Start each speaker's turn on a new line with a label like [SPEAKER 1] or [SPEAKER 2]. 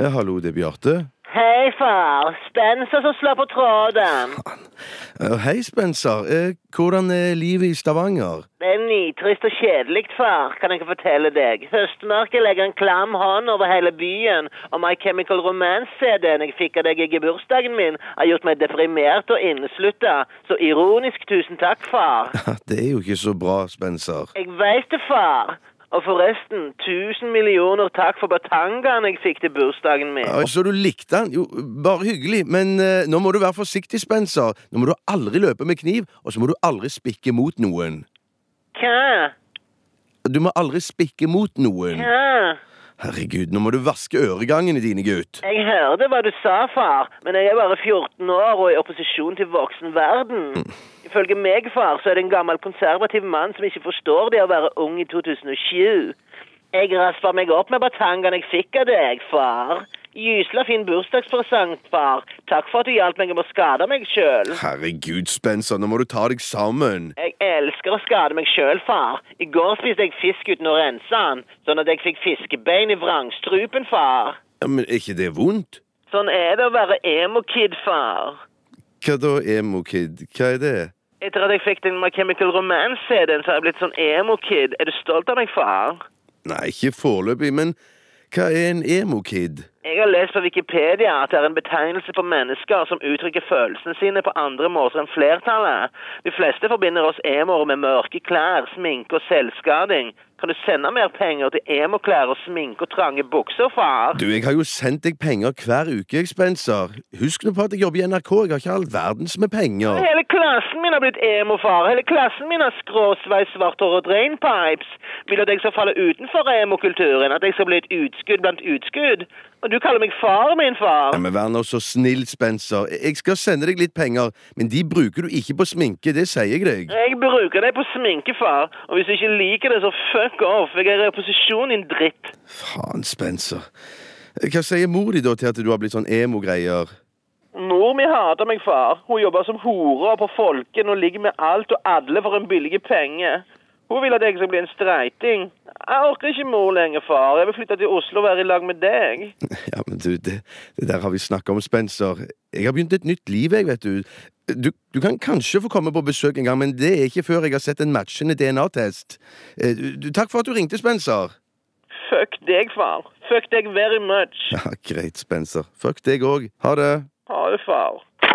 [SPEAKER 1] Eh, Hallo, det er Bjarte.
[SPEAKER 2] Hei, far. Spencer som slår på tråden.
[SPEAKER 1] Eh, Hei, Spencer. Eh, Hvordan er livet i Stavanger?
[SPEAKER 2] Det er nitrist og kjedelig, far, kan jeg ikke fortelle deg. Høstmørket legger en klam hånd over hele byen, og My Chemical Romance-CD-en jeg fikk av deg i bursdagen min, har gjort meg deprimert og inneslutta. Så ironisk tusen takk, far.
[SPEAKER 1] Det er jo ikke så bra, Spencer.
[SPEAKER 2] Jeg veit det, far. Og forresten, tusen millioner takk for batangaen jeg fikk til bursdagen min.
[SPEAKER 1] Og så du likte han? Jo, bare hyggelig. Men eh, nå må du være forsiktig, Spencer. Nå må du aldri løpe med kniv, og så må du aldri spikke mot noen.
[SPEAKER 2] Hva?
[SPEAKER 1] Du må aldri spikke mot noen.
[SPEAKER 2] Hva?
[SPEAKER 1] Herregud, nå må du vaske øregangene dine, gutt.
[SPEAKER 2] Jeg hørte hva du sa, far, men jeg er bare 14 år og i opposisjon til voksen verden. Ifølge meg, far, så er det en gammel konservativ mann som ikke forstår det å være ung i 2007. Jeg raspa meg opp med batangaen jeg fikk av deg, far. Gysla fin bursdagspresang, far. Takk for at du hjalp meg med å skade meg sjøl.
[SPEAKER 1] Herregud, Spencer, nå må du ta deg sammen.
[SPEAKER 2] Jeg elsker å skade meg sjøl, far. I går spiste jeg fisk uten å rense den, sånn at jeg fikk fiskebein i vrangstrupen, far.
[SPEAKER 1] Ja, men er ikke det vondt?
[SPEAKER 2] Sånn er det å være emo-kid, far.
[SPEAKER 1] Hva da, emo-kid? Hva er det?
[SPEAKER 2] Etter at jeg fikk den My Chemical Romance-CD-en, så har jeg blitt sånn emo-kid. Er du stolt av meg, far?
[SPEAKER 1] Nei, ikke foreløpig, men hva er en emo-kid?
[SPEAKER 2] Jeg har lest på Wikipedia at det er en betegnelse for mennesker som uttrykker følelsene sine på andre måter enn flertallet. De fleste forbinder oss emoer med mørke klær, sminke og selvskading. Kan du sende mer penger til emo-klær og sminke og trange bukser, far?
[SPEAKER 1] Du, jeg har jo sendt deg penger hver uke, jeg, Spencer. Husk nå på at jeg jobber i NRK, jeg har ikke all verdens med penger.
[SPEAKER 2] Hele klassen min har blitt emo-far. Hele klassen min har skråsveis, svart hår og drainpipes. Vil at jeg skal falle utenfor emo-kulturen, at jeg skal bli et utskudd blant utskudd. Og du kaller meg far, min
[SPEAKER 1] Ja,
[SPEAKER 2] far.
[SPEAKER 1] men Vær nå så snill, Spencer. Jeg skal sende deg litt penger, men de bruker du ikke på sminke, det sier jeg deg.
[SPEAKER 2] Jeg bruker deg på sminke, far. Og hvis du ikke liker det, så fuck off. Jeg er i opposisjon, din dritt.
[SPEAKER 1] Faen, Spencer. Hva sier mor di da til at du har blitt sånn emo-greier?
[SPEAKER 2] Mor mi hater meg, far. Hun jobber som hore og på folken og ligger med alt og alle for en billig penge. Hun vil at jeg skal bli en streiting. Jeg orker ikke mor lenger, far. Jeg vil flytte til Oslo og være i lag med deg.
[SPEAKER 1] Ja, men du, det, det der har vi snakka om, Spencer. Jeg har begynt et nytt liv, jeg, vet du. du. Du kan kanskje få komme på besøk en gang, men det er ikke før jeg har sett en matchende DNA-test. Eh, du- du- Takk for at du ringte, Spencer.
[SPEAKER 2] Fuck deg, far. Fuck deg very much.
[SPEAKER 1] Ja, greit, Spencer. Fuck deg òg. Ha det.
[SPEAKER 2] Ha det, far.